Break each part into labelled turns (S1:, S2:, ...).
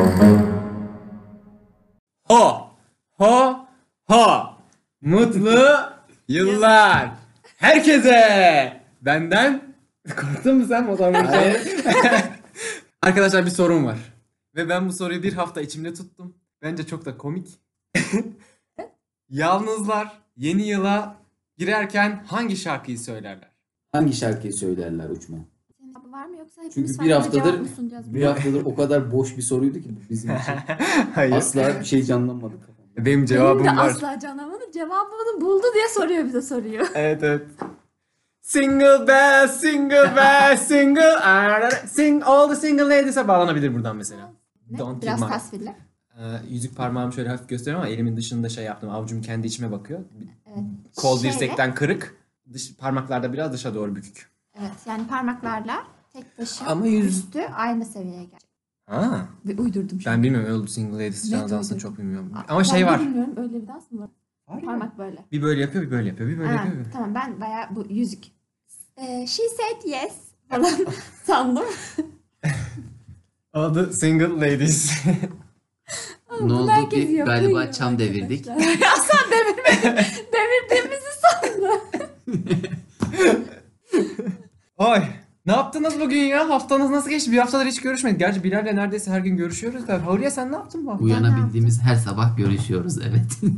S1: Mutlu yıllar. Herkese. Benden. Korktun mu sen motorları şey. Arkadaşlar bir sorun var. Ve ben bu soruyu bir hafta içimde tuttum. Bence çok da komik. Yalnızlar yeni yıla girerken hangi şarkıyı söylerler?
S2: Hangi şarkıyı söylerler uçma?
S3: Senin cevabı var mı yoksa hepimiz
S2: Çünkü bir
S3: farklı
S2: haftadır-
S3: cevap mı sunacağız?
S2: Bir haftadır o kadar boş bir soruydu ki bu bizim için.
S1: Hayır.
S2: Asla bir şey canlanmadı. kafamda.
S1: Benim
S3: Benim
S1: cevabım
S3: de
S1: var.
S3: asla canlamadı. Cevabını buldu diye soruyor bize soruyor.
S1: Evet evet. Single bell, single bell, single arara- sing all the single ladies'e bağlanabilir buradan mesela.
S3: Ne?
S1: Don't
S3: Biraz
S1: give my-
S3: tasvirli.
S1: Ee, yüzük parmağımı şöyle hafif gösteriyorum ama elimin dışında şey yaptım. Avucum kendi içime bakıyor.
S3: Evet.
S1: Kol
S3: Şöyle,
S1: dirsekten kırık. Dış, parmaklarda biraz dışa doğru bükük.
S3: Evet yani parmaklarla tek başı
S1: Ama yüz-
S3: üstü aynı seviyeye gel.
S1: Ha.
S3: Ve uydurdum şimdi.
S1: Ben bilmiyorum öyle bir single ladies
S3: Ne
S1: canlı dansını
S3: duydun?
S1: çok bilmiyorum.
S3: Aa,
S1: Ama şey
S3: ben de
S1: var.
S3: Bilmiyorum öyle bir dans mı var?
S2: Var mı?
S3: Parmak böyle.
S1: Bir böyle yapıyor, bir böyle yapıyor, bir böyle
S3: Ha,
S1: yapıyor. bir böyle-
S3: tamam ben bayağı bu yüzük. Ee, she said yes falan sandım.
S1: Adı single ladies.
S3: Ama
S4: Ne
S3: bunu
S4: oldu
S3: herkes
S4: ki
S3: yapıyor
S4: galiba
S3: ya
S4: çam devirdik.
S3: arkadaşlar. Asla devirmedim. Devirdiğimizi sandım.
S1: Oy. Ne yaptınız bugün ya? Haftanız nasıl geçti? Bir haftadır hiç görüşmedik. Gerçi Bilal'le neredeyse her gün görüşüyoruz da. Huriye sen ne yaptın bu hafta?
S4: Uyanabildiğimiz her sabah görüşüyoruz evet.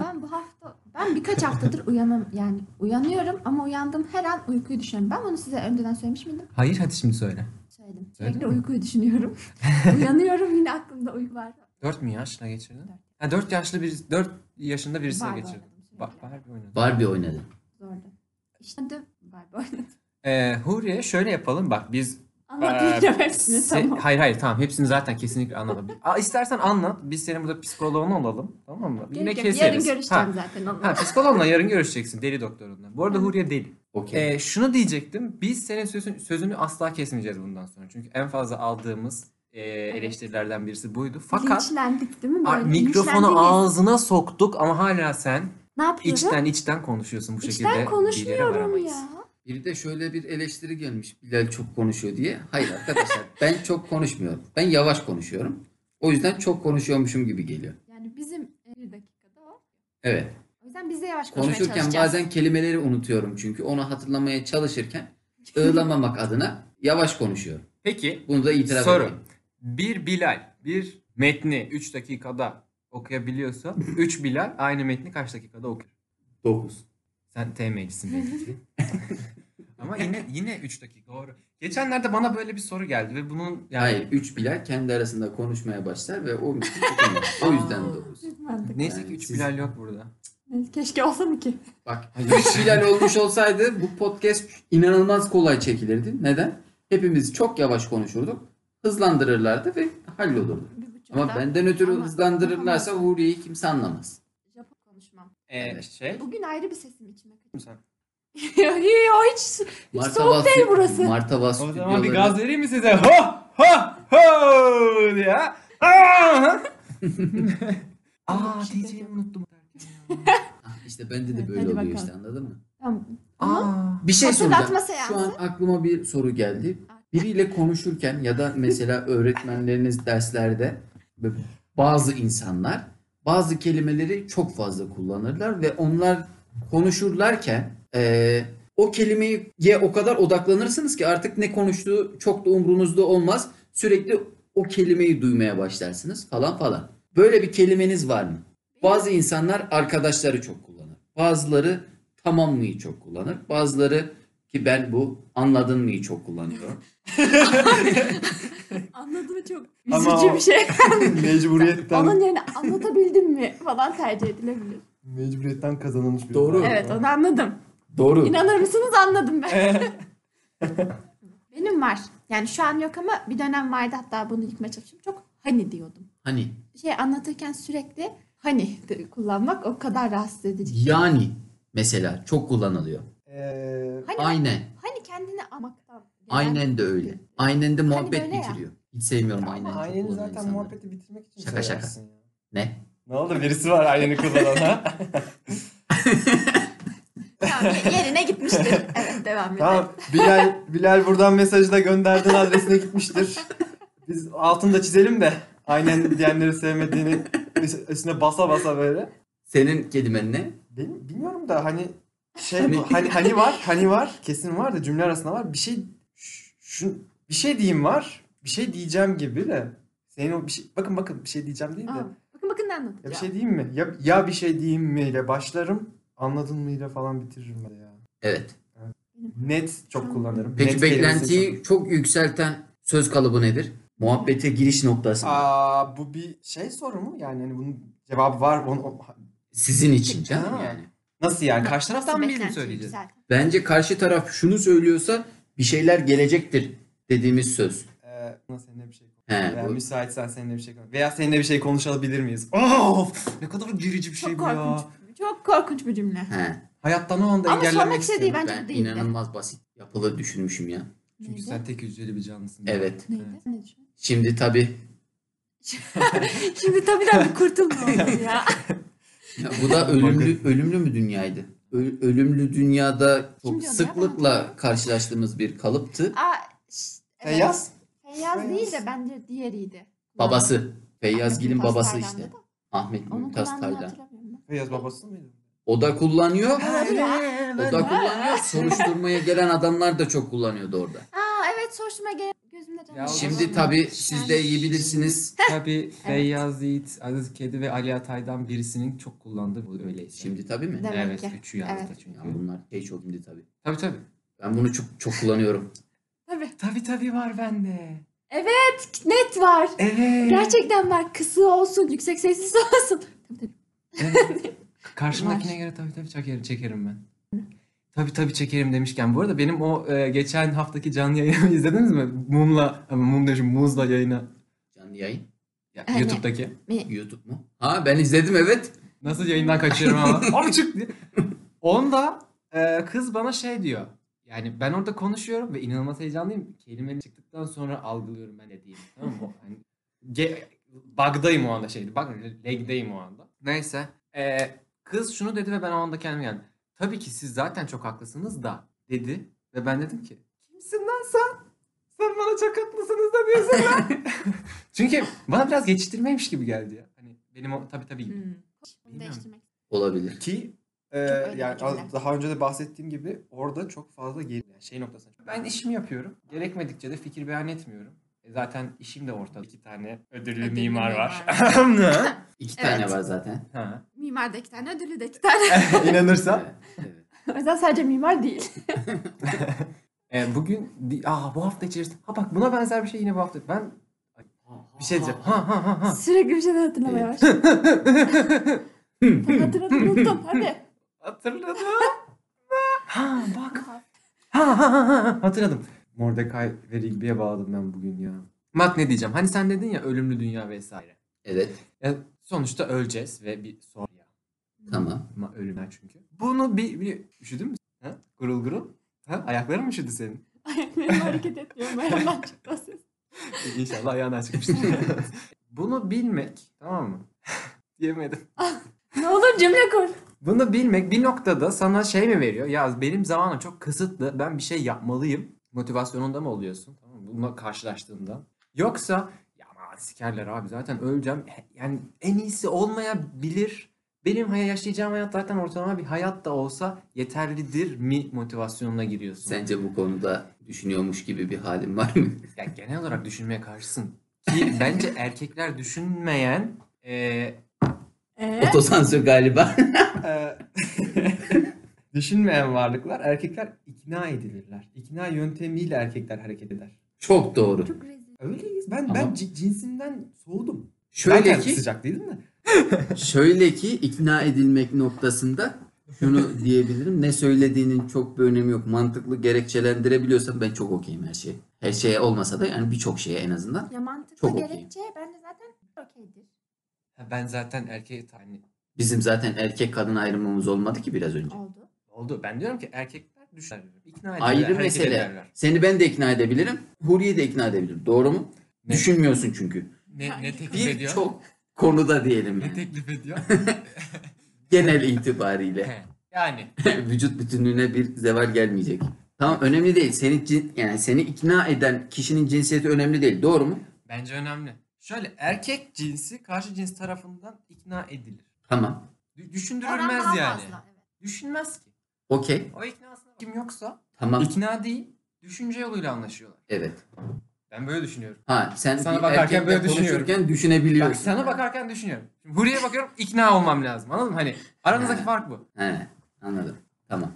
S3: Ben bu hafta ben birkaç haftadır uyanam yani uyanıyorum ama uyandığım her an uykuyu düşünüyorum. Ben bunu size önceden söylemiş miydim?
S1: Hayır hadi şimdi söyle.
S3: Söyledim.
S1: Söyledin
S3: Sürekli
S1: mi?
S3: uykuyu düşünüyorum. uyanıyorum yine aklımda uyku var.
S1: Dört mü yaşına geçirdin? Ha dört yaşlı bir dört yaşında birisine
S3: Barbie
S1: geçirdin.
S3: oynadım sürekli.
S1: Bak Barbie oynadı.
S4: Barbie oynadı.
S3: Zordu. İşte de Barbie oynadım.
S1: Ee, Huriye şöyle yapalım bak biz
S3: Anlatmayacağım
S1: Ee,
S3: hepsini
S1: se-
S3: tamam.
S1: Hayır hayır tamam hepsini zaten kesinlikle anladım. Aa, istersen anlat biz senin burada psikoloğun olalım tamam mı?
S3: Gerek yok. Yarın
S1: keseriz.
S3: görüşeceğim
S1: Ha,
S3: zaten onunla.
S1: Ha, psikoloğunla yarın görüşeceksin deli doktorunla. Bu arada Huriye deli.
S4: Okey.
S1: Ee, şunu diyecektim. Biz senin sözün, sözünü asla kesmeyeceğiz bundan sonra. Çünkü en fazla aldığımız e, eleştirilerden birisi buydu. Fakat
S3: Linçlendik değil mi?
S1: a-
S3: Böyle
S1: mikrofonu
S3: linçlendiğimiz-
S1: ağzına soktuk ama hala sen
S3: Ne yapıyoruz?
S1: içten içten konuşuyorsun bu şekilde.
S3: İçten
S1: bir yere
S3: konuşmuyorum
S1: varamayız.
S3: ya.
S4: Biri de şöyle bir eleştiri gelmiş. Bilal çok konuşuyor diye. Hayır arkadaşlar ben çok konuşmuyorum. Ben yavaş konuşuyorum. O yüzden çok konuşuyormuşum gibi geliyor.
S3: Yani bizim e, bir dakikada o.
S4: Evet.
S3: O yüzden biz de yavaş konuşmaya
S4: Konuşurken
S3: çalışacağız.
S4: bazen kelimeleri unutuyorum çünkü. Onu hatırlamaya çalışırken ığlamamak adına yavaş konuşuyorum.
S1: Peki
S4: Bunu da itiraf
S1: Soru.
S4: edeyim.
S1: bir Bilal bir metni 3 dakikada okuyabiliyorsa 3 Bilal aynı metni kaç dakikada okur?
S4: 9.
S1: Sen TM'cisin belli ki. Ama yine yine 3 dakika doğru. Geçenlerde bana böyle bir soru geldi ve bunun yani
S4: Hayır 3 Bilal kendi arasında konuşmaya başlar ve o müzik tutamaz. O yüzden 9.
S3: Çok mantıklı.
S1: Neyse ki
S4: Yani
S1: 3
S4: siz-
S1: Bilal yok burada.
S3: Neyse, Keşke olsa mı ki?
S4: Bak 3 Bilal olmuş olsaydı bu podcast inanılmaz kolay çekilirdi. Neden? Hepimiz çok yavaş konuşurduk. Hızlandırırlardı ve hallolurdu.
S3: Bir buçuk
S4: Ama
S3: saat.
S4: benden ötürü
S3: Ama-
S4: hızlandırırlarsa
S3: Ama-
S4: Huriye'yi kimse anlamaz.
S3: Japon konuşmam.
S1: Ee,
S4: Evet.
S1: şey
S3: Bugün ayrı bir sesim içime
S1: sen.
S3: kaçıyor. Yo hiç. soğuk
S4: Vas-
S3: değil burası.
S4: Marta Vas
S1: O zaman bir
S4: stüdyoları-
S1: gaz vereyim mi size? Ho ho ho diye. Aa! Aa şey diyeceğimi unuttum.
S4: Ah, İşte bende de
S3: Evet,
S4: böyle
S3: hadi
S4: oluyor
S3: bakalım.
S4: işte anladın mı?
S3: Tamam. Ama
S1: Aa.
S4: Bir şey
S3: Hatırlatma
S4: soracağım.
S3: seansı.
S4: Şu an aklıma bir soru geldi. Biriyle konuşurken ya da mesela öğretmenleriniz derslerde bazı insanlar bazı kelimeleri çok fazla kullanırlar ve onlar konuşurlarken eee, o kelimeye o kadar odaklanırsınız ki artık ne konuştuğu çok da umrunuzda olmaz. Sürekli o kelimeyi duymaya başlarsınız falan falan. Böyle bir kelimeniz var mı? Bazı insanlar arkadaşları çok kullanır. Bazıları tamam mıyı çok kullanır. Bazıları ki ben bu anladın mıyı çok kullanıyorum.
S3: anladım çok
S1: Ama
S3: üzücü
S1: o-
S3: bir şey. Onun
S1: Mecburiyetten
S3: yerine anlatabildim mi falan tercih edilebilir.
S1: mecburiyetten kazanılmış bir.
S4: Doğru.
S3: Evet onu anladım.
S4: Doğru.
S3: İnanır mısınız anladım ben. Benim var. Yani şu an yok ama bir dönem vardı hatta bunu yıkmaya çalıştım. Çok hani diyordum.
S4: Hani
S3: Şey anlatırken sürekli hani de kullanmak o kadar rahatsız edici.
S4: yani mesela çok kullanılıyor.
S1: Ee,
S3: Hani,
S4: Aynen.
S3: hani kendini amaktan. gelen-
S4: Aynen de öyle. Aynen de muhabbet
S3: Hani böyle ya.
S4: bitiriyor. Hiç sevmiyorum aynen. çok
S1: Aynı
S4: kullanan
S1: zaten
S4: insanları.
S1: muhabbeti bitirmek için
S4: Şaka şaka.
S1: söylersin ya.
S4: Ne?
S1: Ne oldu birisi var aynı kullanan ha?
S3: Tamam, yerine gitmiştir. Evet devam edelim.
S1: tamam Bilal, Bilal buradan mesajı da gönderdin adresine gitmiştir. Biz altını da çizelim de aynen diyenleri sevmediğini üstüne basa basa böyle.
S4: Senin kelimen ne?
S5: Benim, bilmiyorum da hani şey bu- hani hani var hani var kesin var da cümle arasında var bir şey ş- şu bir şey diyeyim var bir şey diyeceğim gibi de senin o bir şey bakın bakın bir şey diyeceğim değil de
S3: Aa, bakın bakın ne anladım.
S5: ya bir şey diyeyim mi ya ya bir şey diyeyim mi ile başlarım anladın mı ile falan bitiririm ben ya
S4: Evet.
S5: net çok kullanırım
S4: Peki
S5: net kelimesini
S4: beklentiyi çok... yükselten söz kalıbı nedir? Muhabbete giriş noktası.
S5: çok- Aa bu bir şey soru mu yani hani bunun cevabı var onu o-
S4: Sizin için canım
S5: Ha.
S4: yani.
S5: nasıl yani karşı taraftan
S3: Nasıl
S5: birini mi
S3: beklentiyi
S5: söyleyeceğiz?
S3: yükseltin?
S4: Bence karşı taraf şunu söylüyorsa bir şeyler gelecektir dediğimiz söz.
S5: Ee, buna seninle bir şey
S4: He,
S5: Veya
S4: bu-
S5: müsaitsen seninle bir şey konuş. Veya seninle bir şey konuşabilir miyiz? Of! Ne kadar gerici bir şey
S3: Çok
S5: bu ya.
S3: korkunç. Çok korkunç bir cümle.
S4: He.
S5: Hayattan o anda
S3: Ama
S5: engellenmek
S3: sormak istediği
S5: istiyorum.
S3: Bence
S4: Ben
S3: değil de.
S4: inanılmaz basit yapılı düşünmüşüm ya.
S5: Çünkü
S3: Neydi?
S5: sen tek hücreli bir canlısın.
S4: Evet.
S3: Neydi? Sen ne düşünüyorsun?
S4: Şimdi tabii
S3: Şimdi tabii de bir kurtulma oldu ya.
S4: Ya bu da ölümlü ölümlü mü dünyaydı? Ö- ölümlü dünyada çok
S3: Kim diyor ya?
S4: sıklıkla karşılaştığımız bir kalıptı.
S3: Aa, ş- evet.
S5: Feyyaz?
S3: Feyyaz değil
S5: Feyyaz.
S3: de bence diğeriydi.
S4: Babası Feyyaz Gil'in
S3: Mümtaz
S4: babası
S3: Taylan'dı
S4: işte.
S3: da.
S4: Ahmet
S3: Onun
S4: Mümtaz
S3: kullandığını
S4: Taylan.
S3: hatırlamıyorum. ben.
S5: Feyyaz babası mıydı?
S4: O da kullanıyor. O
S5: Evet.
S4: da kullanıyor. Soruşturmaya gelen adamlar da çok kullanıyordu orada.
S3: Aa evet soruşturma gel gözümde
S1: Ya
S3: canlandı.
S1: o
S4: Şimdi tabii siz de iyi bilirsiniz.
S1: Tabii Feyyaz Yiğit, Aziz Kedi ve Ali Atay'dan birisinin çok kullandığı bu öyleyse.
S4: Şimdi tabii mi?
S3: Demek
S1: evet,
S3: ki.
S1: üçü yazdı
S3: Evet.
S1: çünkü.
S4: Ya bunlar şey çok şimdi tabii.
S1: Tabii tabii.
S4: Ben bunu çok çok kullanıyorum.
S3: Tabii.
S1: Tabii tabii var bende.
S3: Net var.
S1: Evet.
S3: Gerçekten var. Kısı olsun, yüksek sessiz olsun. Tabii tabii.
S1: Evet. Karşımdakine göre tabii tabii çekerim, çekerim ben. Tabii tabii çekerim demişken bu arada benim o e, geçen haftaki canlı yayını izlediniz mi? Mumla, ama mum demişim muzla yayını
S4: Canlı yayın.
S1: ya,
S3: Evet.
S1: YouTube'daki.
S4: YouTube mu? Ha ben izledim evet.
S1: Nasıl yayından kaçıyorum ama. Abi çık diye. Onda e, kız bana şey diyor. Yani ben orada konuşuyorum ve inanılmaz heyecanlıyım. Kelimenin çıktıktan sonra algılıyorum ben dediğimi. Tamam mı? Hani, ge- bug'dayım o anda şeydi. Bak leg'deyim o anda. Neyse. E, kız şunu dedi ve ben o anda kendime geldim. Tabii ki siz zaten çok haklısınız da dedi. Ve ben dedim ki kimsin lan sen? Sen bana çok haklısınız da diyorsun lan. Çünkü bana biraz geçiştirmeymiş gibi geldi ya. Hani benim o tabii tabii gibi.
S3: Hmm. Bunu
S1: Bilmiyorum.
S3: değiştirmek.
S4: Olabilir.
S5: Ki e,
S3: öyle
S5: yani az-
S3: fikirler.
S5: daha önce de bahsettiğim gibi orada çok fazla geri yani şey noktasına.
S1: Ben işimi yapıyorum. Gerekmedikçe de fikir beyan etmiyorum. E zaten işim de ortada. İki tane ödüllü
S3: Ödüllü
S1: mimar var.
S4: İki
S3: Evet.
S4: tane var zaten.
S1: Ha.
S3: Mimar da iki tane, ödüllü de iki tane.
S5: İnanırsan.
S4: Evet, evet.
S3: o yüzden sadece mimar değil.
S1: E, bugün, di- aa bu hafta içerisinde, ha bak buna benzer bir şey yine bu hafta. Ben bir şey diyeceğim. Ha ha ha ha.
S3: Sürekli bir şeyler hatırlamaya başladım. Hatırladım, unuttum. Hadi.
S1: Hatırladım. ha bak. Ha ha ha ha. Hatırladım. Mordecai ve Rigby'ye bağladım ben bugün ya. Bak ne diyeceğim. Hani sen dedin ya ölümlü dünya vesaire.
S4: Evet.
S1: Ya, sonuçta öleceğiz ve bir sonra
S4: Tamam.
S1: Ma- ölümler çünkü. Bunu bir, bir üşüdün mü? sen? Ha? Gurul gurul. Ha? Ayakların mı üşüdü senin?
S3: Ayaklarım hareket etmiyor. Ayağımdan çıktı o ses.
S1: İnşallah ayağına çıkmıştır. Bunu bilmek tamam mı? Diyemedim.
S3: Ne olur cümle kur.
S1: Bunu bilmek bir noktada sana şey mi veriyor? Ya benim zamanım çok kısıtlı. Ben bir şey yapmalıyım. Motivasyonunda mı oluyorsun? Tamam mı? Bununla karşılaştığında. Yoksa ya aman sikerler abi zaten öleceğim. Yani en iyisi olmayabilir. Benim hay- yaşayacağım hayat zaten ortalama bir hayat da olsa yeterlidir mi motivasyonuna giriyorsun?
S4: Sence bu konuda düşünüyormuş gibi bir halin var mı?
S1: Ya genel olarak düşünmeye karşısın. Ki bence erkekler düşünmeyen e,
S3: Ee,
S4: Otosansür galiba.
S5: Ee, düşünmeyen varlıklar erkekler ikna edilirler. İkna yöntemiyle erkekler hareket eder.
S4: Çok doğru.
S3: çok rezil.
S5: Öyleyiz. Ben
S4: Ama-
S5: ben ci- cinsinden soğudum.
S4: Şöyle
S5: Zaten
S4: ki,
S5: sıcak değilim de.
S4: şöyle ki ikna edilmek noktasında şunu diyebilirim. Ne söylediğinin çok bir önemi yok. Mantıklı gerekçelendirebiliyorsan ben çok okeyim her şeye. Her şeye olmasa da yani birçok şeye en azından.
S3: Ya mantıklı
S4: Çok okeyim.
S3: gerekçe bence zaten okeydir.
S1: Ha, ben zaten erkeğe hani, tane
S4: Bizim zaten erkek kadın ayrımımız olmadı ki biraz önce.
S3: Oldu.
S1: oldu. Ben diyorum ki erkekler düşünür. İkna ederler,
S4: Ayrı
S1: hareket
S4: mesele.
S1: ederler.
S4: Seni ben de ikna edebilirim. Huri'yi de ikna edebilirim. Doğru mu?
S1: Ne?
S4: Düşünmüyorsun çünkü.
S1: Ne, ne teklif ediyor?
S4: Birçok konuda diyelim
S1: Ne
S4: yani.
S1: teklif ediyor?
S4: Genel itibariyle.
S1: He, yani
S4: vücut bütünlüğüne bir zeval gelmeyecek. Tamam önemli değil. Seni cin- yani seni ikna eden kişinin cinsiyeti önemli değil. Doğru mu?
S1: bence önemli. Şöyle erkek cinsi karşı cins tarafından ikna edilir.
S4: Tamam.
S1: Dü-
S3: Oran
S1: Düşündürülmez
S3: daha
S1: yani.
S3: fazla. Evet.
S1: Düşünmez ki.
S4: Okey.
S1: O iknasına kim yoksa
S4: Tamam.
S1: ikna değil, düşünce yoluyla anlaşıyorlar.
S4: Evet.
S1: Ben böyle düşünüyorum.
S4: Ha sen
S1: Sana
S4: bir
S1: bakarken
S4: erkekle
S1: böyle
S4: konuşurken düşünebiliyorsun.
S1: Bak sana bakarken düşünüyorum. Şimdi Huri'ye bakıyorum ikna olmam lazım. Anladın mı? Hani aranızdaki
S4: Ha.
S1: fark bu.
S4: He, anladım. Tamam.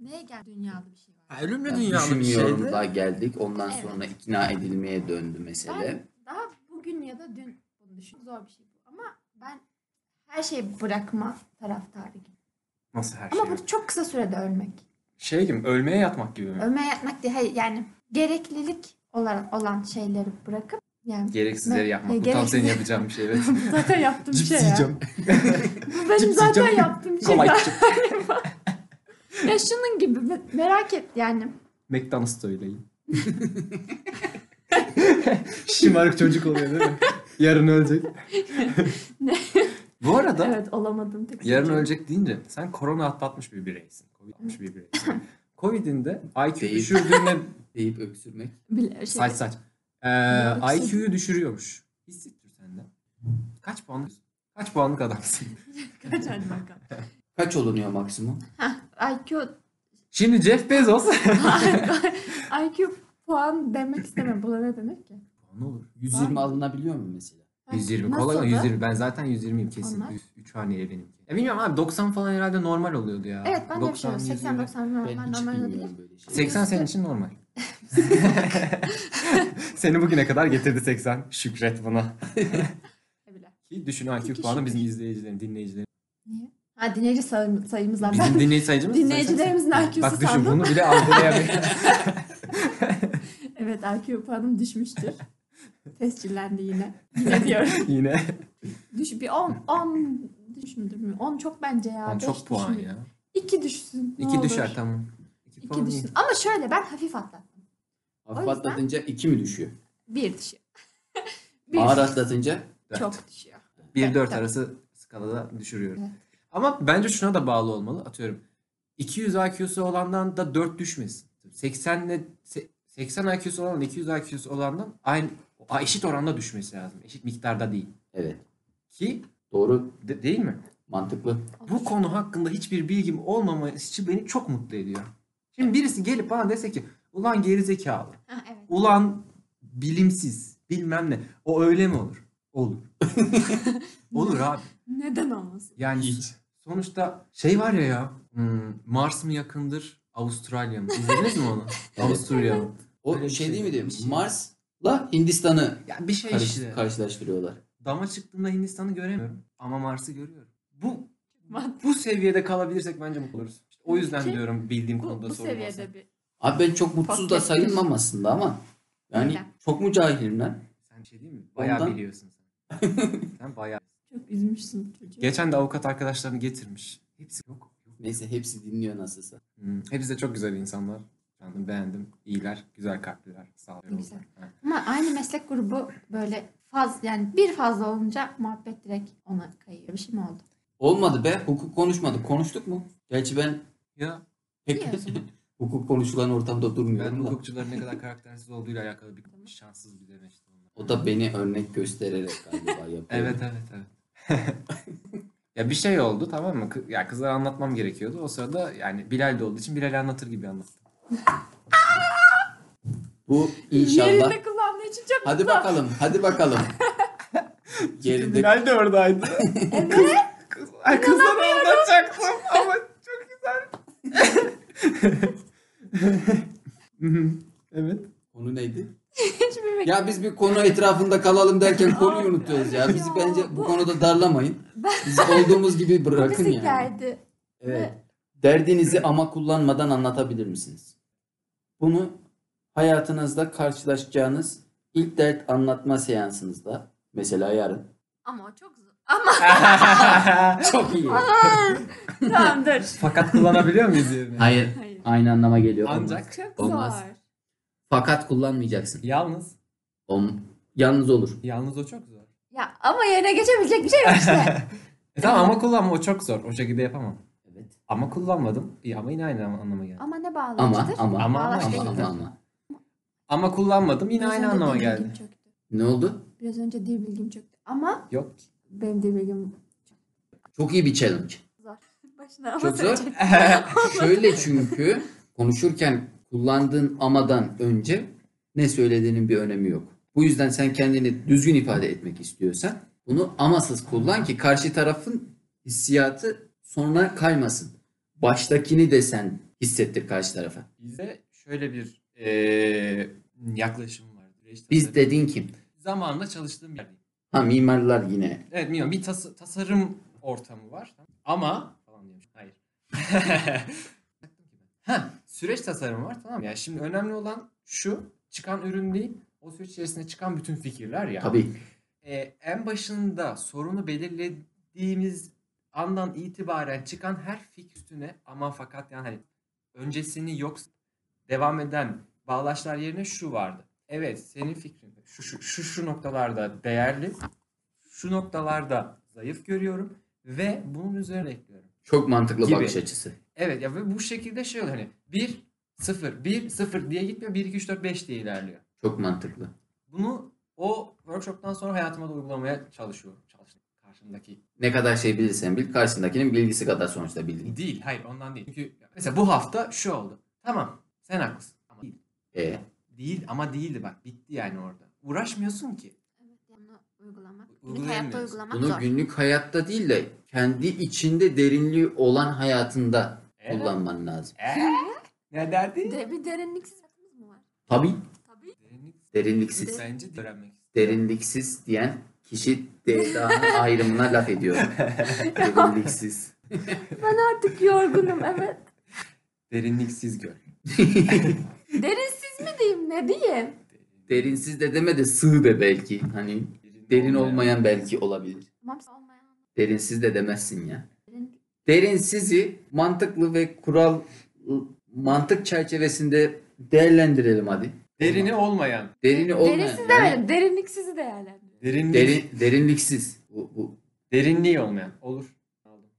S3: Neye gel dünyada bir şey var.
S5: Ha, ölümle
S4: Ya,
S5: dünyanın bir
S4: düşünmüyorum
S5: şeydi.
S4: da geldik. Ondan
S3: Evet.
S4: sonra ikna edilmeye döndü mesele.
S3: Ben daha bugün ya da dün bunu düşün. Zor bir şey bu. Ama ben her şeyi bırakma taraftarıyım.
S1: Nasıl her şey?
S3: Ama bu çok kısa sürede ölmek.
S1: Şey gibi ölmeye yatmak gibi mi?
S3: Ölmeye yatmak diye hayır yani gereklilik olan olan şeyleri bırakıp yani
S1: Gereksizleri
S3: Ne?
S1: yapmak.
S3: E,
S1: Bu tam
S3: gereksiz-
S1: senin yapacağın bir şey. Evet.
S3: zaten yaptığım
S5: Cips
S3: şey ya.
S5: yiyeceğim.
S3: Bu benim
S5: Cips
S3: zaten
S5: yiyeceğim.
S3: yaptığım şey.
S5: Kola
S3: ya.
S5: içeceğim.
S3: ya şunun gibi me- merak et yani.
S1: McDonald's da öyleyim.
S5: Şımarık çocuk oluyor değil mi? Yarın ölecek.
S1: Bu arada
S3: Evet olamadım tek. şey.
S1: yarın
S3: tek.
S1: ölecek deyince sen korona atlatmış bir bireysin. Covid atlatmış bir bireysin. Covid'in de IQ
S4: Değil.
S3: Şey.
S1: düşürdüğüne
S4: Deyip öksürmek.
S3: Bile- şey-
S1: saç saç. Ee,
S3: Yoksa-
S1: IQ'yu düşürüyormuş. Hissettir sende. Kaç puanlık? Kaç puanlık adamsın?
S3: Kaç hadi bakalım.
S4: Kaç olunuyor maksimum?
S3: IQ,
S1: Şimdi Jeff Bezos.
S3: IQ puan demek istemem. Bu da ne demek ki?
S1: ne olur?
S4: 120 alınabiliyor mu mesela?
S3: Ha,
S1: 120
S3: nasıl
S1: kolay.
S3: da?
S1: 120 ben zaten 120'yim kesin.
S3: Onlar?
S1: 3 haneye benimki. Ya bilmiyorum abi 90 falan herhalde normal oluyordu ya.
S3: Evet ben de düşünüyorum.
S1: 120.
S3: 80-90 normal
S4: Ben hiç
S3: normal değil.
S4: bilmiyorum böyle şey.
S1: 80 senin için normal. Seni bugüne kadar getirdi 80. Şükret buna.
S3: Bile.
S1: Ki düşün IQ
S3: Peki
S1: puanı
S3: şükür.
S1: bizim izleyicilerin, dinleyicilerin.
S3: Niye? Ha dinleyici sayım- sayımızdan.
S1: Bizim
S3: Ben
S1: dinleyici sayıcımız
S3: dinleyicilerimizin IQ'su
S1: Bak düşün
S3: sandım.
S1: bunu bile algılayamıyor.
S3: Evet IQ puanım düşmüştür. Tescillendi yine. Yine diyorum.
S1: Yine.
S3: Düş bir 10 10 düşmüdür mü? 10 çok bence ya.
S1: Lan
S3: 5
S1: çok puan
S3: düşmüyor.
S1: ya.
S3: 2 düşsün. ne
S1: 2
S3: olur.
S1: düşer tamam. 2
S3: 2 düşsün. Ama şöyle ben hafif atlattım.
S4: Hafif
S3: O yüzden-
S4: atlatınca 2 mi düşüyor?
S3: 1 düşüyor. 1
S4: Ağır atlatınca
S3: çok düşüyor.
S1: 1-4
S3: Tabii.
S1: arası skalada düşürüyorum.
S3: Evet.
S1: Ama bence şuna da bağlı olmalı. Atıyorum 200 IQ'su olandan da 4 düşmesin. 80 ile se- 80 IQ'su olan 200 IQ'su olandan aynı a- eşit oranda düşmesi lazım. Eşit miktarda değil.
S4: evet.
S1: Ki
S4: Doğru.
S1: de- değil mi?
S4: Mantıklı.
S1: Bu konu hakkında hiçbir bilgim olmaması beni çok mutlu ediyor. Şimdi birisi gelip bana dese ki ulan geri zekalı.
S3: Ha, evet.
S1: Ulan bilimsiz bilmem ne. O öyle mi olur? Olur. olur abi.
S3: Neden olmasın?
S1: Yani sonuçta şey var ya ya hmm, Mars mı yakındır Avustralya mı? İzlediniz mi onu? Avusturya mı?
S4: O
S1: Öyle bir
S4: şey
S1: şey
S4: değil mi
S1: değil,
S4: diyor?
S1: bir şey.
S4: Mars'la Hindistan'ı
S1: Ya bir şey
S4: karış-
S1: işte.
S4: karşılaştırıyorlar.
S1: Dama çıktığımda Hindistan'ı göremiyorum ama Mars'ı görüyorum. Bu
S3: Mantıklı.
S1: bu seviyede kalabilirsek bence mutlu oluruz. İşte o yüzden
S3: Peki,
S1: diyorum bildiğim
S3: Şey, Bu,
S1: konuda
S3: bu
S1: sorun olsa.
S3: seviyede bir.
S4: Abi ben çok mutsuz da
S3: Podcast.
S4: sayılmam aslında ama yani
S3: Neden?
S4: çok mu cahilim lan?
S1: Sen bir şey değil mi? Bayağı
S4: Ondan-
S1: biliyorsun sen. sen bayağı.
S3: Çok üzmüşsün çocuğu.
S1: Geçen de avukat arkadaşlarını getirmiş. Hepsi yok.
S4: Neyse hepsi dinliyor nasılsa.
S1: Hmm, Hepsi de çok güzel insanlar. Beğendim, beğendim. İyiler, güzel kalpliler. Sağ olun.
S3: Güzel. Ama aynı meslek grubu böyle faz yani bir fazla olunca muhabbet direkt ona kayıyor. Bir şey mi oldu?
S4: Olmadı be hukuk konuşmadık. Konuştuk mu? Gerçi ben
S1: Ya
S4: pek
S3: İyi o zaman.
S4: hukuk konuşulan ortamda
S1: Ben
S4: durmuyorum da.
S1: hukukçuların ne kadar karaktersiz olduğuyla alakalı bir şanssız bir demeçti.
S4: O da beni örnek göstererek galiba yapıyor.
S1: Evet evet evet. ya bir şey oldu tamam mı? Kı- Ya kızlara anlatmam gerekiyordu. O sırada yani Bilal de olduğu için Bilal anlatır gibi anlattım.
S4: Bu inşallah.
S3: Yerinde kullandığı için çok
S4: Hadi bakalım hadi bakalım. Geride
S1: de oradaydı. Kız, kız, ay, kızlara anlatacaktım ama çok güzel. evet.
S4: Konu neydi?
S3: hiçbir
S4: Ya biz bir konu etrafında kalalım derken konuyu
S3: Abi,
S4: unutuyoruz ya.
S3: ya.
S4: Bizi bence bu
S3: Bu-
S4: konuda darlamayın.
S3: Ben-
S4: Biz olduğumuz gibi bırakın
S3: Bizim
S4: yani.
S3: geldi.
S4: Evet. Derdinizi ama kullanmadan anlatabilir misiniz? Bunu hayatınızda karşılaşacağınız ilk dert anlatma seansınızda mesela yarın.
S3: Ama o çok zor. Ama
S4: Çok iyi.
S3: tamam dur.
S1: Fakat kullanabiliyor muyuz yerine?
S4: Hayır.
S3: Hayır.
S4: Aynı anlama geliyor. Olmaz.
S1: Ancak
S3: Çok
S4: Olmaz.
S3: zor.
S4: Fakat kullanmayacaksın.
S1: yalnız.
S4: Olm- Yalnız olur.
S1: Yalnız o çok zor.
S3: Ya ama yerine geçebilecek bir şey yok işte.
S1: E tamam ama kullanma o çok zor. O şekilde yapamam.
S4: Evet.
S1: Ama kullanmadım. İyi ama yine aynı anlama geldi.
S3: ama ne
S4: Ama
S3: bağlayıcıdır?
S4: ama
S1: Ama
S4: ama
S1: ama
S3: Bağlaç
S4: ama
S1: işte.
S3: değil.
S4: ama. ama.
S1: Ama kullanmadım yine
S3: Biraz
S1: aynı
S3: önce
S1: anlama
S3: dil
S1: geldi.
S3: bilgim çöktü.
S4: Ne oldu?
S3: Biraz önce dil bilgim çöktü. Ama
S1: Yok.
S3: benim dil bilgim
S4: Çok iyi bir challenge.
S3: başına. Ama
S4: Çok zor.
S3: söyleyecek.
S4: Şöyle çünkü konuşurken kullandığın amadan önce ne söylediğinin bir önemi yok. Bu yüzden sen kendini düzgün ifade etmek istiyorsan bunu amasız kullan ki karşı tarafın hissiyatı sonra kaymasın. Baştakini de sen hissettir karşı tarafa.
S1: Bizde şöyle bir eee yaklaşım var. Süreç
S4: Biz
S1: tasarım.
S4: dediğin kim?
S1: Zamanında çalıştığım bir yerdeyim.
S4: Ha mimarlar yine.
S1: Evet bilmiyorum bir tas- tasarım ortamı var. Ama falan diyormuş. Hayır. ha, süreç tasarımı var tamam mı? Yani şimdi önemli olan şu çıkan ürün değil o süreç içerisinde çıkan bütün fikirler ya.
S4: Tabii.
S1: Ee, en başında sorunu belirlediğimiz andan itibaren çıkan her fikir üstüne ama fakat yani hani öncesini yok devam eden bağlaçlar yerine şu vardı. Evet senin fikrin şu şu şu, şu noktalarda değerli. Şu noktalarda zayıf görüyorum ve bunun üzerine ekliyorum.
S4: Çok mantıklı
S1: Gibi.
S4: bakış açısı.
S1: Evet ya ve bu şekilde şey oluyor hani 1 0 1 0 diye gitmiyor 1 2 3 4 5 diye ilerliyor.
S4: Çok mantıklı.
S1: Bunu o workshop'tan sonra hayatıma da uygulamaya çalışıyorum. Çalıştım karşımdaki.
S4: Ne kadar şey bilirsen bil karşısındakinin bilgisi kadar sonuçta bildiğin.
S1: Değil, hayır ondan değil. Çünkü mesela bu hafta şu oldu. Tamam, sen haklısın. Ama değil.
S4: E,
S1: Değil ama değildi bak. Bitti yani orada. Uğraşmıyorsun ki.
S3: Evet, bunu uygulamak. Günlük
S1: Uygulayamıyoruz.
S3: hayatta uygulamak
S4: bunu
S3: zor.
S4: günlük hayatta değil de kendi içinde derinliği olan hayatında
S1: Ee?
S4: kullanman lazım.
S1: Ee? Ne derdi?
S3: De, bir derinliksiz hayatımız mı var?
S4: Tabii
S3: Tabii.
S1: Derinlik-
S4: derinliksiz.
S1: Bence de öğrenmek istiyorum.
S4: Derinliksiz diyen kişi Devra'nın ayrımına laf ediyor. derinliksiz.
S3: Ben artık yorgunum evet.
S1: Derinliksiz göl.
S3: Derinsiz mi diyeyim ne diyeyim?
S4: Derinsiz de deme de sığ de belki. Hani derin olmayan belki olabilir.
S3: Tamam olmayan.
S4: Derinsiz de demezsin ya.
S3: Derin,
S4: Derinsizi mantıklı ve kural mantık çerçevesinde değerlendirelim hadi.
S1: Derini olmayan.
S4: Derini olmayan.
S3: derinsiz
S4: yani
S3: demedim. Derinliksizi değerlendir.
S1: Derinlik.
S4: Derin, derinliksiz. Bu, bu.
S1: Derinliği olmayan. Olur. Aldım.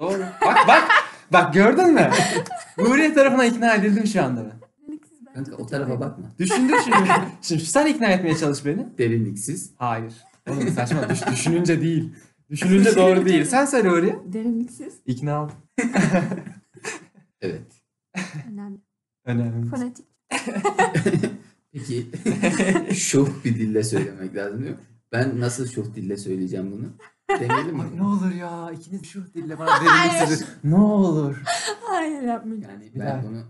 S1: Doğru. Bak bak. bak gördün mü? Nuriye tarafına ikna edildim şu anda ben.
S3: Derinliksiz bence
S4: Kanka
S3: de
S4: o
S3: çok
S4: tarafa
S3: uygun.
S4: bakma.
S1: Düşündüm şimdi. Şimdi sen ikna etmeye çalış beni.
S4: Derinliksiz.
S1: Hayır. Oğlum saçma düş- düşününce değil. Düşününce doğru değil. Sen söyle oraya.
S3: Derinliksiz
S1: İkna ol.
S4: Evet.
S3: önemli.
S1: Önemli.
S3: Fonetik.
S4: Peki şof bir dille söylemek lazım değil mi? Ben nasıl şof dille söyleyeceğim bunu? Deneyelim
S1: Ay,
S4: mi?
S1: ne olur ya ikiniz şu dille bana derinliksiz. ne olur.
S3: Hayır yapmayacağız.
S4: Yani
S1: Bir
S4: ben
S1: daha.
S4: bunu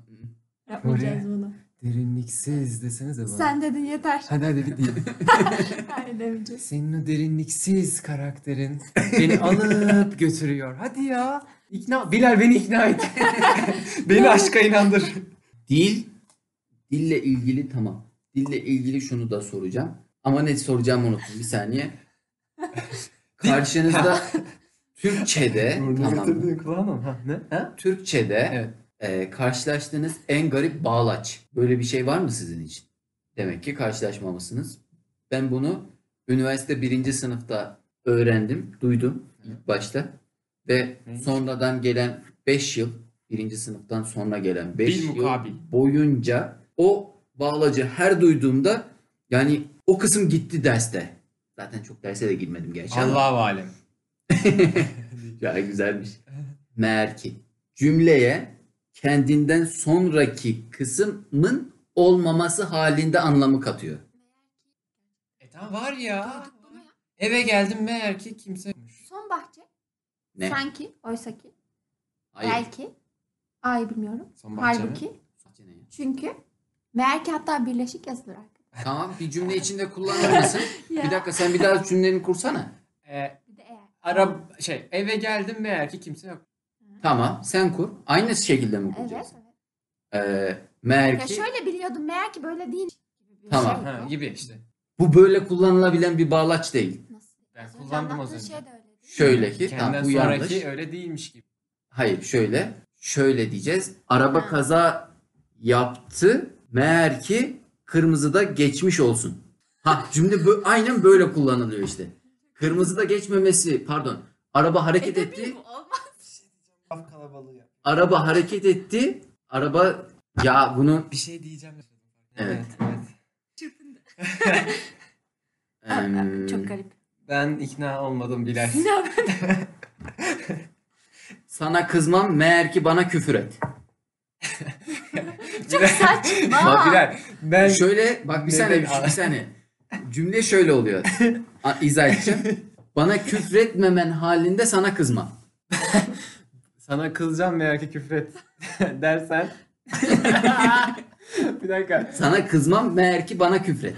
S3: Yapmayacağız bunu.
S1: Derinliksiz desenize bana.
S3: Sen dedin yeter.
S1: Hadi hadi bir değil.
S3: Hayır demeyeceğiz.
S1: Senin o derinliksiz karakterin beni alıp götürüyor. Hadi ya. İkna, Bilal beni ikna et. beni aşka inandır.
S4: dil dille ilgili tamam. Dille ilgili şunu da soracağım. Ama ne soracağımı unuttum. Bir saniye. Karşınızda Türkçe'de tamam. mı?
S1: kulağına mı? Ha, ne? Ha?
S4: Türkçe'de
S1: Evet.
S4: e, karşılaştığınız en garip bağlaç. Böyle bir şey var mı sizin için? Demek ki karşılaşmamışsınız. Ben bunu üniversite birinci sınıfta öğrendim, duydum ilk başta. Ve
S1: Neymiş?
S4: sonradan gelen 5 yıl, birinci sınıftan sonra gelen 5
S1: Bil
S4: yıl
S1: mukabil.
S4: boyunca o bağlacı her duyduğumda yani o kısım gitti derste. Zaten çok derse de girmedim gerçi ama.
S1: Allah'u alem.
S4: Ya güzelmiş. Meğer ki cümleye kendinden sonraki kısmın olmaması halinde anlamı katıyor.
S1: E tamam var ya.
S3: Duyduk bunu ya.
S1: Eve geldim meğer ki kimse
S3: Son bahçe.
S4: Ne?
S3: Sanki, oysaki,
S4: Hayır.
S3: belki. Ay bilmiyorum.
S1: Son
S3: Halbuki. Çünkü meğer ki hatta birleşik yazılır arkadaşlar.
S4: Tamam bir cümle içinde kullanılmasın.
S3: Ya.
S4: bir dakika sen bir daha cümleni kursana.
S1: Ee,
S3: Bir de eğer.
S1: ara şey eve geldim meğer ki kimse yok.
S4: Tamam sen kur. Aynı şekilde mi
S3: Evet.
S4: kuracaksın?
S3: evet.
S4: Ee, meğer
S3: Ya
S4: ki
S3: şöyle biliyordum meğer ki böyle değil. gibi bir
S4: Tamam.
S3: şey
S1: Ha,
S3: yok.
S1: gibi işte.
S4: bu böyle kullanılabilen bir bağlaç değil.
S3: Nasıl?
S1: Ben
S3: Az önce
S1: kullandım az
S3: anlattığın
S1: önce.
S3: Şey de öyle değil mi?
S4: Şöyle ki
S1: Kendinden
S4: tamam, bu yanlış.
S1: sonraki öyle değilmiş gibi.
S4: Hayır şöyle. Şöyle diyeceğiz. Araba
S3: Ha.
S4: kaza yaptı. Meğer ki kırmızıda geçmiş olsun. Ha cümle bö- aynen böyle kullanılıyor işte. Kırmızıda geçmemesi pardon. Araba hareket
S3: E,
S4: etti.
S3: tabii bu olmaz.
S5: Laf kalabalığı ya.
S4: Araba hareket etti. Araba ya bunu
S1: Bir şey diyeceğim.
S4: Evet.
S1: evet.
S3: Çırpındı.
S4: em,
S3: Çok garip.
S1: Ben ikna olmadım Bilal.
S3: Ne yapayım?
S4: Sana kızmam meğer ki bana küfür et.
S3: Çok saçma.
S4: Bak
S5: Birer. Ben
S4: Şöyle bak bir
S5: Neden
S4: saniye
S5: abi?
S4: bir saniye. Cümle şöyle oluyor. A, izah edeceğim. Bana küfretmemen halinde sana kızmam.
S1: Sana kılacağım meğer ki küfret dersen. bir dakika.
S4: Sana kızmam meğer ki bana küfret.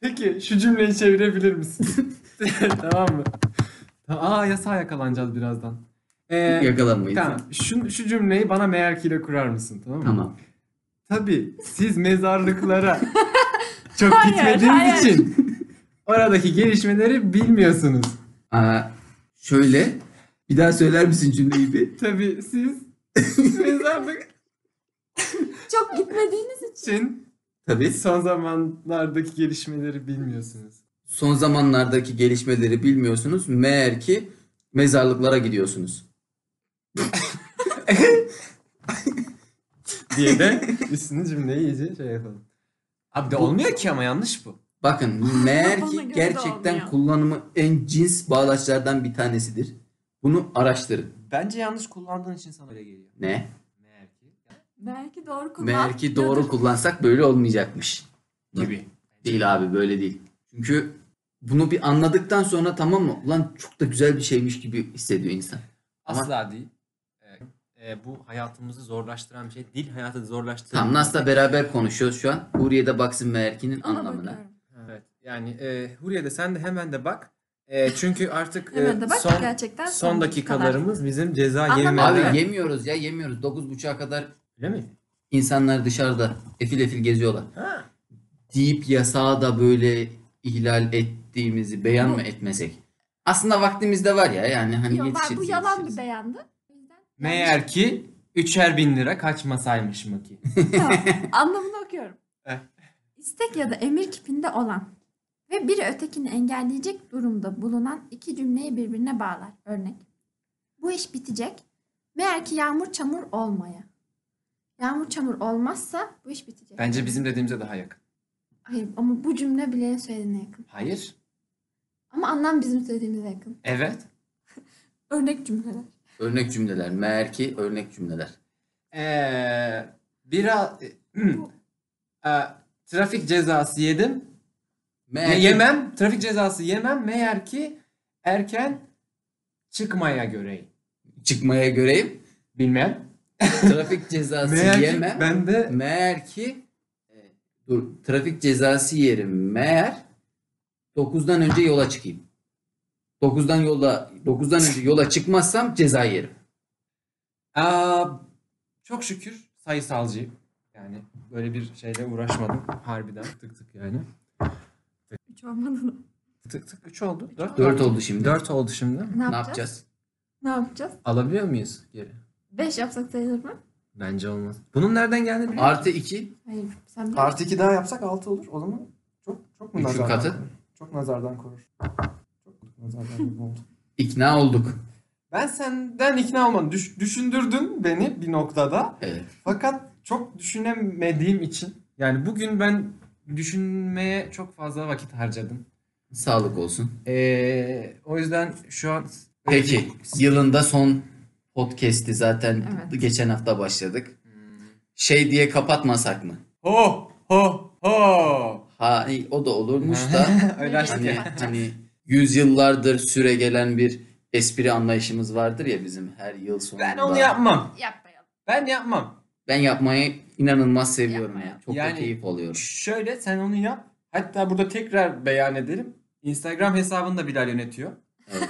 S1: Peki şu cümleyi çevirebilir misin? tamam mı? Aa yasağa yakalanacağız birazdan. Ee,
S4: Yakalanmayız.
S1: tamam. Şu, şu cümleyi bana meğer kiyle kurar mısın? Tamam mı?
S4: Tamam.
S1: Tabii siz mezarlıklara çok
S3: Hayır,
S1: gitmediğiniz
S3: hayır.
S1: için oradaki gelişmeleri bilmiyorsunuz.
S4: Aa, şöyle. Bir daha söyler misin cümleyi bir?
S1: Tabii siz mezarlık
S3: Çok gitmediğiniz için.
S1: için
S4: Tabii.
S1: son zamanlardaki gelişmeleri bilmiyorsunuz.
S4: Son zamanlardaki gelişmeleri bilmiyorsunuz. Meğer ki mezarlıklara gidiyorsunuz.
S1: diye de üstüne cümleyi iyice şey yapalım. Abi de olmuyor ki ama yanlış bu.
S4: Bakın meğer
S3: Bana
S4: ki
S3: göre de
S4: gerçekten
S3: olmuyor.
S4: kullanımı en cins bağlaçlardan bir tanesidir. Bunu araştırın.
S1: Bence yanlış kullandığın için sana öyle geliyor.
S4: Ne?
S1: Meğer ki.
S3: Belki doğru kullan.
S4: Meğer ki doğru kullansak böyle olmayacakmış.
S1: Gibi.
S4: Değil abi böyle değil. Çünkü bunu bir anladıktan sonra tamam mı? Ulan çok da güzel bir şeymiş gibi hissediyor insan. Ama-
S1: Asla değil. Ee, e, bu hayatımızı zorlaştıran bir şey. Dil hayatı zorlaştıran.
S4: Tam Nas'la beraber konuşuyoruz şu an. Huriye'de baksın meğer ki'nin
S3: Ona
S4: anlamına.
S3: bakıyorum.
S1: şey. Evet. Yani e, Huriye de sen de hemen de bak. E, çünkü artık e,
S3: Hemen de bak
S1: son,
S3: gerçekten
S1: son dakikalarımız bizim ceza
S3: Anlamadım.
S1: yemeden.
S4: Abi yemiyoruz ya yemiyoruz. 9.30'a kadar
S1: Öyle mi?
S4: insanlar dışarıda efil efil geziyorlar.
S1: Ha.
S4: deyip yasağı da böyle ihlal ettiğimizi beyan mı etmesek? Aslında vaktimizde var ya yani hani
S3: Yok, ben- bu
S4: yetişiriz,
S3: yalan bir
S4: yetişiriz.
S3: beyandı. O yüzden
S1: Meğer ki üçer bin lira kaçmasaymış mı ki?
S3: Tamam, Anlamını okuyorum.
S1: Eh.
S3: İstek ya da emir kipinde olan ve biri ötekini engelleyecek durumda bulunan iki cümleyi birbirine bağlar. Örnek. Bu iş bitecek. Meğer ki yağmur çamur olmaya. Yağmur çamur olmazsa bu iş bitecek.
S1: Bence bizim dediğimize daha yakın.
S3: Hayır ama bu cümle bile söylediğine yakın.
S1: Hayır.
S3: Ama anlam bizim söylediğimize yakın.
S1: Evet.
S3: Örnek cümleler.
S4: Örnek cümleler. Meğer ki örnek cümleler.
S1: Ee, biraz Ee, e, trafik cezası yedim.
S4: Meğer
S1: Ne
S4: ki-
S1: yemem. Trafik cezası yemem. Meğer ki erken çıkmaya göreyim.
S4: çıkmaya göreyim.
S1: Bilmem.
S4: Trafik cezası yemem.
S1: ben de
S4: Meğer ki e, dur trafik cezası yerim. Meğer 9'dan önce yola çıkayım. 9'dan yolda 9'dan önce yola çıkmazsam ceza yerim.
S1: Aa, çok şükür sayısalcıyım. Yani böyle bir şeyle uğraşmadım. Harbiden tık tık yani.
S3: Hiç olmadı.
S1: Tık tık 3 oldu. 4
S4: 4 oldu şimdi.
S1: 4 oldu şimdi.
S3: Ne
S4: Ne
S3: yapacağız?
S4: yapacağız?
S3: Ne yapacağız?
S1: Alabiliyor muyuz geri?
S3: Beş yapsak sayılır mı?
S1: Bence olmaz. Bunun nereden geldiğini biliyor
S4: Artı 2
S3: Hayır. Sen bir
S5: artı iki daha yapsak altı olur. O zaman çok çok mu
S4: Üçün
S5: nazardan
S4: katı.
S5: korur? Çok nazardan korur. Çok nazardan korur. oldu.
S4: ikna olduk.
S5: Ben senden ikna olmadım. Düş- düşündürdün beni bir noktada.
S4: Evet.
S5: Fakat çok düşünemedim.
S1: Dediğim için. Yani bugün ben düşünmeye çok fazla vakit harcadım.
S4: Sağlık olsun.
S1: Ee, o yüzden şu an
S4: Peki yılında son podcast'i zaten
S3: Evet.
S4: geçen hafta başladık. Şey diye kapatmasak mı?
S1: Ho ho ho.
S4: Ha iyi, o da olurmuş da
S1: Öyle açtık
S4: hani,
S1: ya.
S4: hani yüzyıllardır süre gelen bir espri anlayışımız vardır ya bizim her yıl sonunda.
S1: Ben onu yapmam.
S3: Yapmayalım.
S1: Ben yapmam.
S4: Ben yapmayı inanılmaz seviyorum
S3: Yapma
S4: ya. Çok
S1: Yani-
S4: da keyif alıyorum.
S1: Şöyle sen onu yap. Hatta burada tekrar beyan edelim. Instagram hesabını da Bilal yönetiyor.
S4: Evet.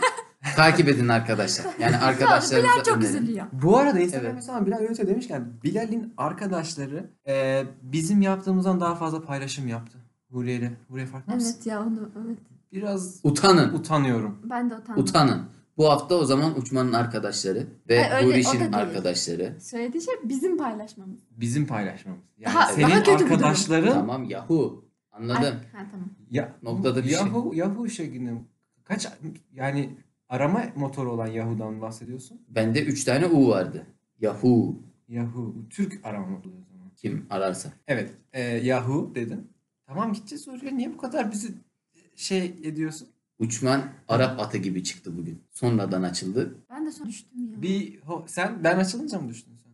S4: Takip edin arkadaşlar. Yani arkadaşlarınıza
S3: Bilal çok
S4: önerin.
S3: üzülüyor.
S1: Bu arada Instagram
S4: Evet.
S1: hesabı Bilal yönetiyor demişken Bilal'in arkadaşları e, bizim yaptığımızdan daha fazla paylaşım yaptı. Huriye'yle. Huriye farkında mısın?
S3: Evet ya onu evet.
S1: Biraz
S4: Utanın.
S1: utanıyorum.
S3: Ben de utandım.
S4: Utanın. Bu hafta o zaman uçmanın arkadaşları ve
S3: Ay, öyle- o da
S4: Huriş'in
S3: değil.
S4: arkadaşları.
S3: Söylediği şey bizim paylaşmamız.
S1: Bizim paylaşmamız. Yani
S3: Daha-
S1: senin
S3: daha kötü bir durum.
S1: arkadaşların
S4: Tamam yahu.
S3: Ay,
S4: Anladım.
S3: ha, tamam.
S1: Ya,
S4: Noktada bir şey.
S1: Yahoo, Yahoo şeklinde kaç yani arama motoru olan Yahoo'dan bahsediyorsun?
S4: Bende 3 tane U vardı. Yahoo
S1: Yahoo Türk arama motoru o zaman.
S4: kim ararsa.
S1: Evet, e, Yahoo dedin. Tamam gideceğiz oraya. Niye bu kadar bizi e, şey ediyorsun?
S4: Uçman Arap atı gibi çıktı bugün. Sonradan açıldı.
S3: Ben de sonra düştüm ya.
S5: Bir ho- sen ben açılınca mı düştün sen?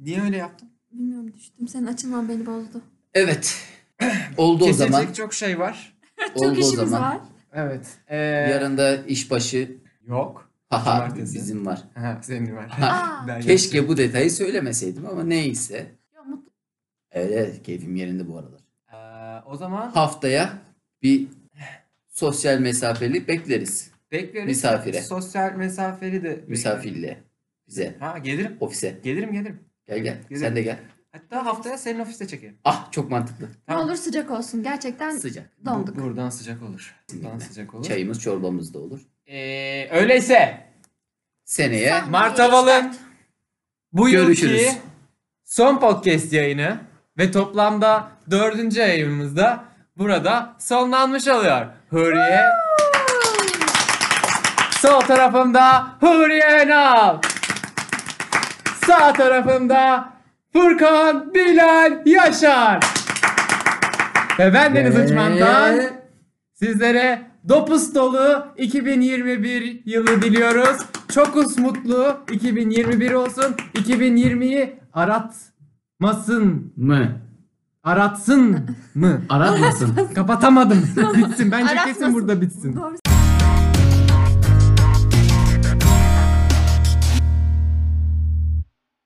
S5: Niye öyle yaptın?
S3: Bilmiyorum düştüm. Senin açılman beni bozdu.
S4: Evet. Oldu o zaman.
S5: Kesilecek çok şey var.
S3: Çok
S4: Oldu o
S3: işimiz
S4: zaman.
S3: var.
S5: Evet.
S1: E,
S5: Ee,
S4: Yarın da işbaşı
S5: Yok.
S4: haha
S5: Cumartesi.
S4: bizim var.
S5: Ha, senin var.
S3: Aa.
S5: Ben
S4: Keşke bu detayı söylemeseydim ama neyse.
S3: Ya mutlu-
S4: Öyle keyfim yerinde bu aralar.
S1: Ee, o zaman
S4: Haftaya bir sosyal mesafeli bekleriz.
S1: bekleriz.
S4: Misafire.
S1: Sosyal mesafeli de
S4: Misafirliğe. Bize.
S1: Ha gelirim.
S4: Ofise.
S1: Gelirim gelirim.
S4: Gel gel.
S1: Güzel.
S4: Sen de gel.
S1: Hatta haftaya senin ofiste çekerim.
S4: Ah çok mantıklı.
S3: Ne
S1: Tamam.
S3: olur sıcak olsun. Gerçekten
S4: Sıcak.
S3: donduk.
S1: Bu- Buradan sıcak olur. Buradan
S4: Kesinlikle.
S1: sıcak olur.
S4: Çayımız çorbamız da olur.
S1: Ee, öyleyse
S4: Seneye
S3: Sen-
S1: Mart Havalı bu
S4: Görüşürüz.
S1: yılki son podcast yayını ve toplamda dördüncü yayınımızda burada sonlanmış oluyor. Huriye. Sol tarafımda Huriye Önal. Sağ tarafımda Furkan Bilal Yaşar. Ve ben Deniz
S4: Ve-
S1: Uçman'dan Sizlere dopus dolu 2021 yılı diliyoruz. Çokuz mutlu 2021 olsun. 2020'yi aratmasın,
S4: mı?
S1: aratsın mı?
S4: Aratmasın.
S1: Kapatamadım. bitsin. Bence kesin
S3: Aratmasın.
S1: burada bitsin.
S3: Doğru